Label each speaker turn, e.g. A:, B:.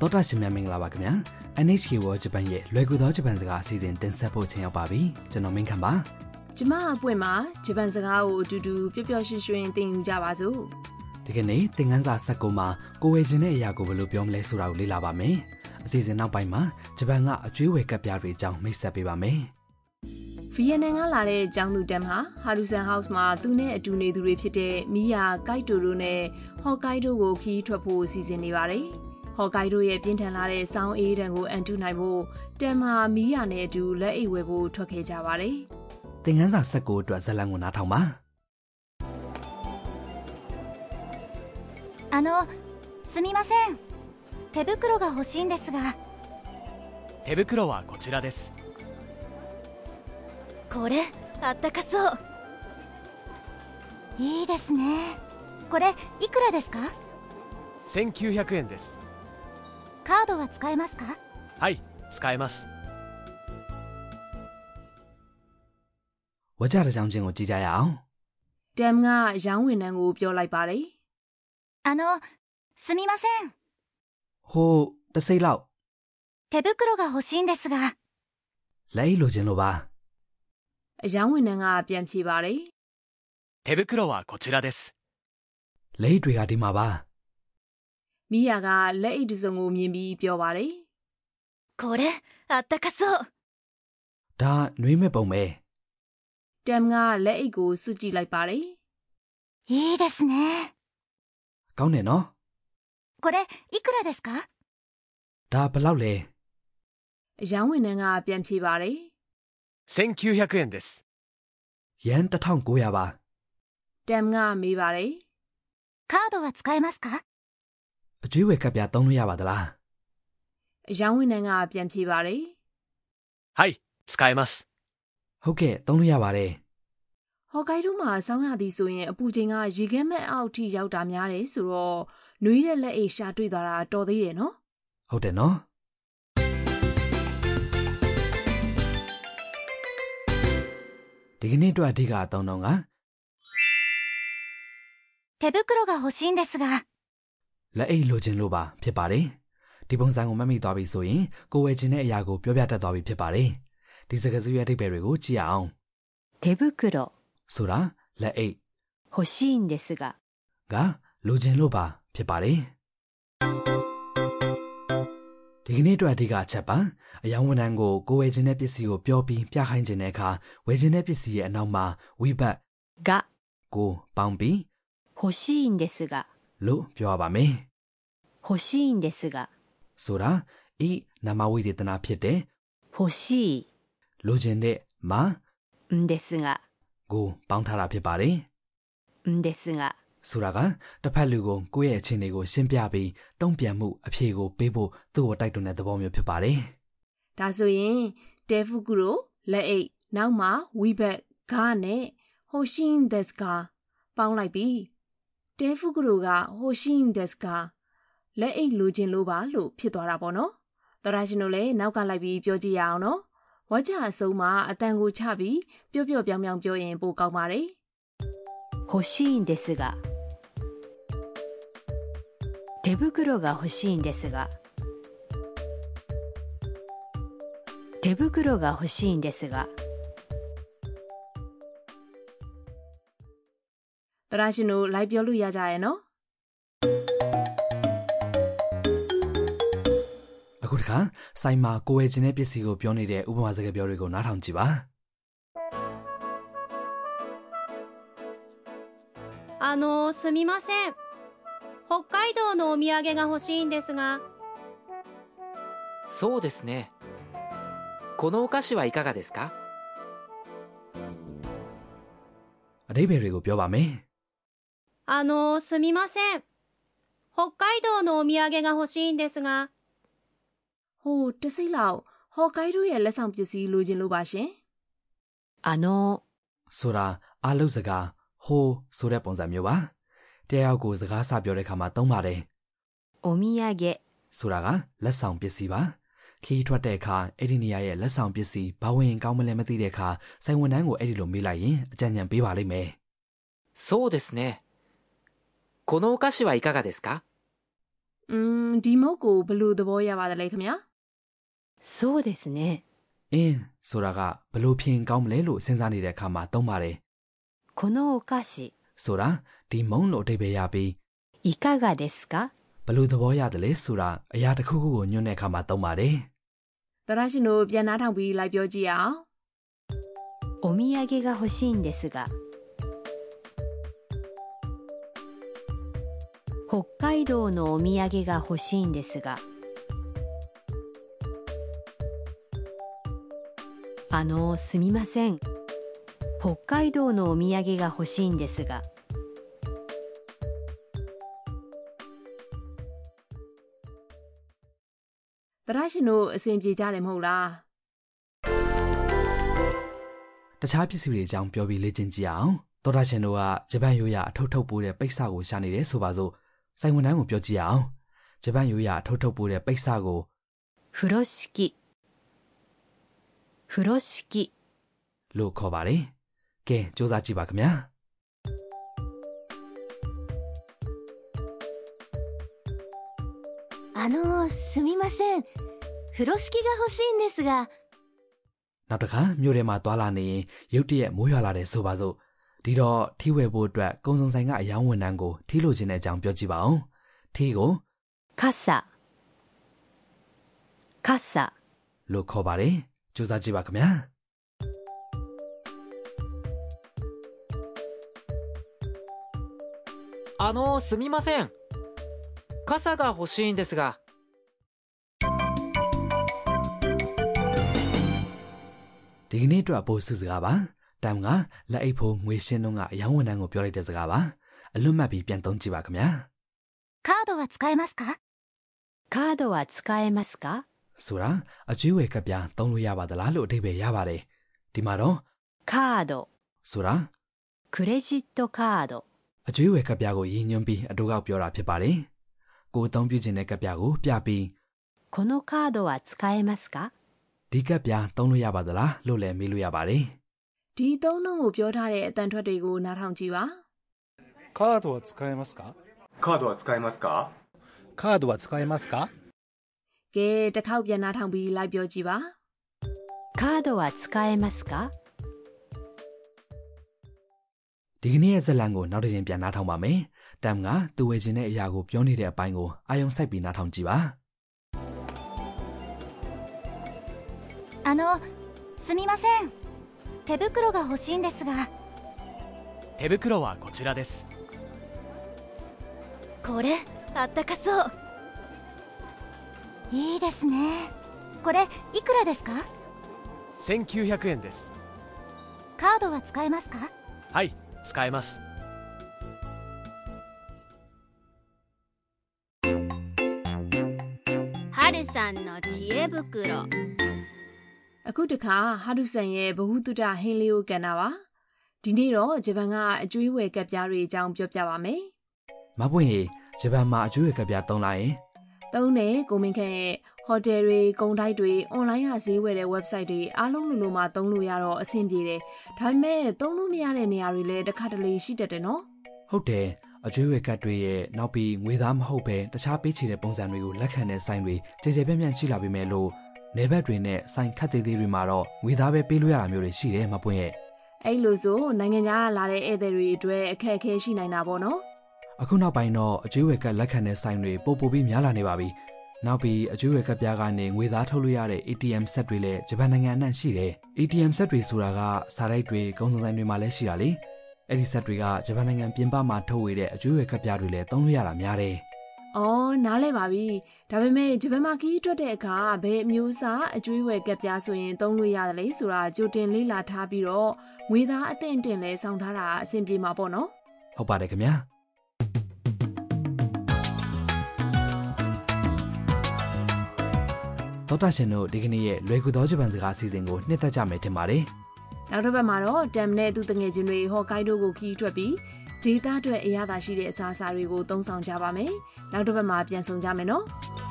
A: တော်တာရှင်များမင်္ဂလာပါခင်ဗျာ NHK World Japan ရဲ့လွယ်ကူသောဂျပန်စကားအစီအစဉ်တင်ဆက်ဖို့ချိန်ရောက်ပါပြီကျွန်တော်မင်းခမ်းပါ
B: ကျမအပွင့်မှာဂျပန်စကားကိုအတူတူပျော်ပျော်ရွှင်ရွှင်သင်ယူကြပါစို့
A: ဒီကနေ့သင်ခန်းစာဆက်ကုန်မှာကိုယ်ဝေခြင်းတဲ့အရာကိုဘယ်လိုပြောမလဲဆိုတာကိုလေ့လာပါမယ်အစီအစဉ်နောက်ပိုင်းမှာဂျပန်ကအကျွေးဝယ်ကပ်ပြားတွေအကြောင်းမိတ်ဆက်ပေးပါမယ်
B: ဗီယက်နမ်ကလာတဲ့ကျောင်းသူတမ်ဟာဟာရူဆန်ဟောက်စ်မှာသူနဲ့အတူနေသူတွေဖြစ်တဲ့မီယာကိုက်တိုတို့နဲ့ဟော့ကိုက်တိုကိုခရီးထွက်ဖို့စီစဉ်နေပါတယ်ဟော့ကိုက်တိုရဲ့ပြင်းထန်လာတဲ့ဆောင်းအေးဒဏ်ကိုအန်တုနိုင်ဖို့တမ်ဟာမီယာနဲ့အတူလက်အိတ်ဝယ်ဖို့ထွက်ခဲ့ကြပါတယ်
A: သင်ခန်းစာဆက်ကိုအတွက်ဇာတ်လမ်းကိုနားထောင်ပါ
C: あのすみません手袋が欲しいんですが
D: 手袋はこちらです
C: これあったかそういいですねこれいくらですか
D: 1900円です
C: カードは使えますか
D: はい使えます
A: ဝါကြတဲ့ကြောင်းချင်းကိုကြည့်ကြရအောင်
B: တမ်ကရောင်းဝင်နှန်းကိုပြောလိုက်ပါတယ်
C: あのすみません
A: ဟိုးတစ်စိတ်လောက်
C: 手袋が欲しいんですが
A: လက်အိတ်လိုခြင်းလို့ပါ
B: အရောင်းဝင်နှန်းကပြန်ဖြေပါတယ်
D: 手袋はこちらです
A: လက်အိတ်တွေကဒီမှာပါ
B: မီယာကလက်အိတ်တစ်စုံကိုမြင်ပြီးပြောပါတယ်
C: これあったかそう
A: ဒါနှွေးမဲ့ပုံပဲ
B: တမ်ကလက်အိတ်ကိုစွကြည့်လိုက်ပါတယ်
C: いいですね
A: ကောင်းတယ်နော်
C: これいくらですか
A: ဒါဘယ်လောက်လဲ
B: အရောင်းဝင်နှန်းကပြန်ဖြေပါတယ်
D: 1900円です
A: ရန်1900ပါ
B: တမ်ကမေးပါတယ်
C: カードは使えますか
A: အကျွေးဝယ်ကပ်ပြားသုံးလို့ရပါသလား
B: ။အယောင်ဝန်ထမ်းကပြန်ဖြေပါတယ်
D: はい使えます
A: ဟုတ်ကဲ့သုံးလို့ရပါတယ်
B: ။ဟော်ကိုင်ဒိုမှာဆောင်းရသည်ဆိုရင်အပူချိန်ကရေခဲမဲ့အောက်ထိရောက်တာများတယ်ဆိုတော့နွေးတဲ့လက်အိတ်ရှာတွေ့သွားတာတော်သေးတယ်နော်
A: ဟုတ်တယ်နော်ဒီကနေ့အတွက်အဓိကအသုံးတော့က
C: 手袋が欲しいんですが
A: လက်အိတ်လိုချင်လို့ပါဖြစ်ပါတယ်ဒီပုံစံကိုမှတ်မိသွားပြီဆိုရင်ကိုယ်ဝယ်ချင်တဲ့အရာကိုပြောပြတတ်သွားပြီဖြစ်ပါတယ်ဒီစကားစုရဲ့အဓိပ္ပာယ်တွေကိုကြည့်ရအောင်
E: 手袋
A: ဆိုတာလက်အိတ်
E: 欲しいんですが
A: ကလိုချင်လို့ပါဖြစ်ပါတယ်ဒီကနေ့အတွက်အဓိကအချက်ပါအယောင်ဝန်ထမ်းကိုကိုယ်ဝယ်ချင်တဲ့ပစ္စည်းကိုပြောပြီးပြခိုင်းချင်တဲ့အခါဝယ်ချင်တဲ့ပစ္စည်းရဲ့အနောက်မှာဝိဘတ်
E: が
A: ကိုပေါင်းပြီး
E: 欲しいんですが
A: လို့ပြောရပါမယ်
E: 欲しいんですが
A: ။ဆိုတာဤနာမဝိသေသနာဖြစ်တဲ့
E: 欲し
A: လိုချင်တဲ့မ
E: いんですが
A: ကိုပေါင်းထားတာဖြစ်ပါတယ်
E: んですが
A: ။ဆိုတာကတစ်ဖက်လူကိုကိုယ့်ရဲ့အခြေအနေကိုရှင်းပြပြီးတုံ့ပြန်မှုအဖြေကိုပေးဖို့သူ့ကိုတိုက်တွန်းတဲ့သဘောမျိုးဖြစ်ပါတယ်
B: ။ဒါဆိုရင်တဲဖူကူရိုလက်အိတ်နောက်မှာဝီဘက်ဂါနဲ့ဟိုရှင်းဒက်စကာပေါင်းလိုက်ပြီ။တဲဖူကူရိုကဟိုရှင်းဒက်စကာလက်အိတ်လိုချင်လို့ပါလို့ဖြစ်သွားတာပေါ့နော်။သရရှင်တို့လည်းနောက်ကလိုက်ပြီးပြောကြည့်ရအောင်နော်။ဝါကြအစုံမှာအတန်ကိုချပြီးပျော့ပျော့ပြောင်းပြောင်းပြောရင်ပိုကောင်းပါတယ်။
E: 欲しいんですが手袋が欲しいんですが手袋が欲しいんですが
B: တရရှင်တို့ live ပြောလို့ရကြရဲ့နော်
A: ။အခုတခါဆိုင်မှာကိုယ်ဝယ်ချင်တဲ့ပစ္စည်းကိုပြောနေတဲ့ဥပမာစကားပြောတွေကိုနားထောင်ကြည့်ပါ
F: あのすみません北海道のお土産が欲しいんですが
G: そうですねこのお菓子はいかがですか
A: ။အဓိပ္ပာယ်တွေကိုပြောပါမယ်
F: あのすみません北海道のお土産が欲しいんですが
B: ဟိုတစိမ့်လောက်ဟော်ကိုင်ဒိုရဲ့လက်ဆောင်ပစ္စည်းလိုချင်လို့ပါရှင်
E: あの
A: ။ဆိုတာအာလုတ်စကားဟိုးဆိုတဲ့ပုံစံမျိုးပါ။တယောက်ကိုစကားစပြောတဲ့အခါမှာသုံးပါတယ်။
E: お土産
A: ဆိုတာကလက်ဆောင်ပစ္စည်းပါခီးထွက်တဲ့အခါအဲ့ဒီနေရာရဲ့လက်ဆောင်ပစ္စည်းဘာဝင်ကောင်းမလဲမသိတဲ့အခါဆိုင်ဝန်ထမ်းကိုအဲ့ဒီလိုမေးလိုက်ရင်အကြံဉာဏ်ပေးပါလိမ့်မယ်
G: そうですねこのお菓子はいかがですか
B: 음 อืมဒီမုတ်ကိုဘယ်လိုသဘောရပါသလဲခင်ဗျာ
E: そうですね。
A: အင်းဆိုတာကဘလို့ဖြစ်ရင်ကောင်းမလဲလို့စဉ်းစားနေတဲ့အခါမှာသုံးပါတယ်
E: このお菓子、
A: ဆိုတာဒီမုံလို့အဓိပ္ပာယ်ရပြီး
E: いかがですか
A: ဘလို့သဘောရတယ်လဲဆိုတာအရာတစ်ခုခုကိုညွှန်းတဲ့အခါမှာသုံးပါတယ်
B: သရရှင်တို့ပြန်နားထောင်ပြီးလိုက်ပြောကြည့်ရအောင်
E: お土産が欲しいんですが。北海道のお土産が欲しいんですが。あの、すみません。北海道のお土産が欲しいんですが。
B: သရရှင်တို့အဆင်ပြေကြတယ်မဟုတ်လား
A: တခြားပစ္စည်းတွေအကြောင်းပြောပြီးလေ့ကျင့်ကြည့်ရအောင်သောတာရှင်တို့ကဂျပန်ရိုးရာအထုတ်ထုတ်ပိုးတဲ့ပိတ်ဆကိုရှာနေတယ်ဆိုပါစို့စိုင်ဝန်တန်းကိုပြောကြည့်ရအောင်ဂျပန်ရိုးရာအထုတ်ထုတ်ပိုးတဲ့ပိတ်ဆကို
E: 風呂敷。風呂敷。
A: လို့ခေါ်ပါတယ်ကဲစူးစမ်းကြည့်ပါခင်ဗျာ
C: あのすみません風呂敷が欲しいんですが
A: နောက်တစ်ခါမြို့ထဲမှာသွာလာနေရင်ရုတ်တရက်မိုးရွာလာတယ်ဆိုပါစို့ဒီတော့ထီးဝယ်ဖို့အတွက်ကုံစုံဆိုင်ကအယောင်းဝန်တန်းကိုထီးလိုချင်တဲ့အကြောင်းပြောကြည့်ပါအောင်ထီးကို
E: 傘。傘。
A: လို့ခေါ်ပါတယ်စူးစမ်းကြည့်ပါခင်ဗျာ
G: あのすみません傘が欲しいんですが
A: ဒီကနေ့အတွက်အပို့စုစကားပါတမ်ကလက်အိတ်ဖို့ငွေရှင်းတော့ကအယောင်းဝန်တန်းကိုပြောလိုက်တဲ့စကားပါအလွတ်မှတ်ပြီးပြန်သုံးကြည့်ပါခင်ဗျာ
C: カードは使えますか
E: カードは使えますか
A: ဆိုတာအကျွေးဝယ်ကပ်ပြားသုံးလို့ရပါသလားလို့အဓိပ္ပာယ်ရပါတယ်ဒီမှာတော့
E: カード。
A: ဆိုတာ
E: クレジットカード。
A: အကျွေးဝယ်ကပ်ပြားကိုရည်ညွှန်းပြီးအတူကောက်ပြောတာဖြစ်ပါတယ်ကိုယ်အသုံးပြုခြင်းတဲ့ကပ်ပြားကိုပြပြီး
E: このカードは使えますか
A: ဒီကပ်ပြားသုံးလို့ရပါသလားလို့လည်းမေးလို့ရပါတယ်
B: ဒီသုံးလုံးကိုပြောထားတဲ့အတန်ထွက်တွေကိုနားထောင်ကြည့်ပါ
H: カードは使えますか
I: カードは使えますか
H: カードは使えますか
B: ကဲတစ်ခေါက်ပြန်နားထောင်ပြီးလိုက်ပြောကြည့်ပါ
E: カードは使えますか
A: ဒီကနေ့ရဲ့ဇာတ်လမ်းကိုနောက်တစ်ချိန်ပြန်နားထောင်ပါမယ်တမ်ကသူဝယ်ခြင်းတဲ့အရာကိုပြောနေတဲ့အပိုင်းကိုအာယုံစိုက်ပြီးနားထောင်ကြည့်ပါ
C: あのすみません手袋が欲しいんですが
D: 手袋はこちらです
C: これあったかそういいですねこれいくらですか
D: 1900円です
C: カードは使えますか
D: はい使えます
F: はるさんの知恵袋
B: အခုတစ်ခါဟာရုဆန်ရဲ့ဘ ഹു တုတဟင်းလေးကိုကန်တာပါဒီနေ့တော့ဂျပန်ကအကျွေးဝယ်ကပ်ပြားတွေအကြောင်းပြောပြပါမယ်
A: မပွင့်ရေဂျပန်မှာအကျွေးရကပြသုံးလိုက်ရင်
B: သုံးတဲ့ကိုမင်းခန့်ရဲ့ဟိုတယ်တွေ၊ကုန်တိုက်တွေ၊အွန်လိုင်းကဈေးဝယ်တဲ့ website တွေအားလုံးလိုလိုမှသုံးလို့ရတော့အဆင်ပြေတယ်ဒါပေမဲ့သုံးလို့မရတဲ့နေရာတွေလည်းတစ်ခါတလေရှိတတ်တယ်နော်
A: ဟုတ်တယ်အကျွေးရကတွေရဲ့နောက်ပြီးငွေသားမဟုတ်ပဲတခြားပေးချေတဲ့ပုံစံတွေကိုလက်ခံတဲ့ဆိုင်တွေကျေကျေပြန့်ပြန့်ရှိလာပေမဲ့လို့နေဘက်တွေနဲ့ဆိုင်ခတ်သေးသေးတွေမှာတော့ငွေသားပဲပေးလို့ရတာမျိုးတွေရှိတယ်မပွင့်ရေ
B: အဲ့လိုဆိုနိုင်ငံခြားကလာတဲ့ဧည့်သည်တွေအတွက်အခက်အခဲရှိနိုင်တာပေါ့နော်
A: အခုနောက်ပိုင်းတော့အကျွေးရကလက်ခံတဲ့ဆိုင်တွေပို့ပို့ပြီးများလာနေပါပြီနောက်ပြီးအကျွေးရကပြားကနေငွေသားထုတ်လို့ရတဲ့ ATM set တွေလည်းဂျပန်နိုင်ငံအနှံ့ရှိတယ် ATM set တွေဆိုတာကစားတိုက်တွေ၊ကုန်စုံဆိုင်တွေမှာလည်းရှိတာလေအဲ့ဒီ set တွေကဂျပန်နိုင်ငံပြင်ပမှာထုတ်ဝေတဲ့အကျွေးရကပြားတွေလည်းသုံးလို့ရတာများတယ်
B: ။အော်နားလဲပါပြီ။ဒါပေမဲ့ဂျပန်မှာခီးထွက်တဲ့အခါဘယ်အမျိုးအစားအကျွေးဝယ်ကပ်ပြားဆိုရင်သုံးလို့ရတယ်လေဆိုတာကြိုတင်လေ့လာထားပြီးတော့ငွေသားအသင့်အတင်လဲစောင့်ထားတာအဆင်ပြေမှာပေါ့နော်
A: ဟုတ်ပါတယ်ခင်ဗျာဒေါက်တာရှင်တို့ဒီကနေ့ရဲ့လွယ်ကူသောဂျပန်စကားအစီအစဉ်ကိုနှစ်သက်ကြမယ်ထင်ပါတယ်
B: ။နောက်တစ်ပတ်မှာတော့တမ်နဲ့သူ့တငယ်ချင်းတွေဟော့ကိုက်ဒိုကိုခီးထွက်ပြီးဒေသအတွက်အရသာရှိတဲ့အစားအစာတွေကိုသုံးဆောင်ကြပါမယ်။နောက်တစ်ပတ်မှာပြန်ဆောင်ကြမယ်နော်။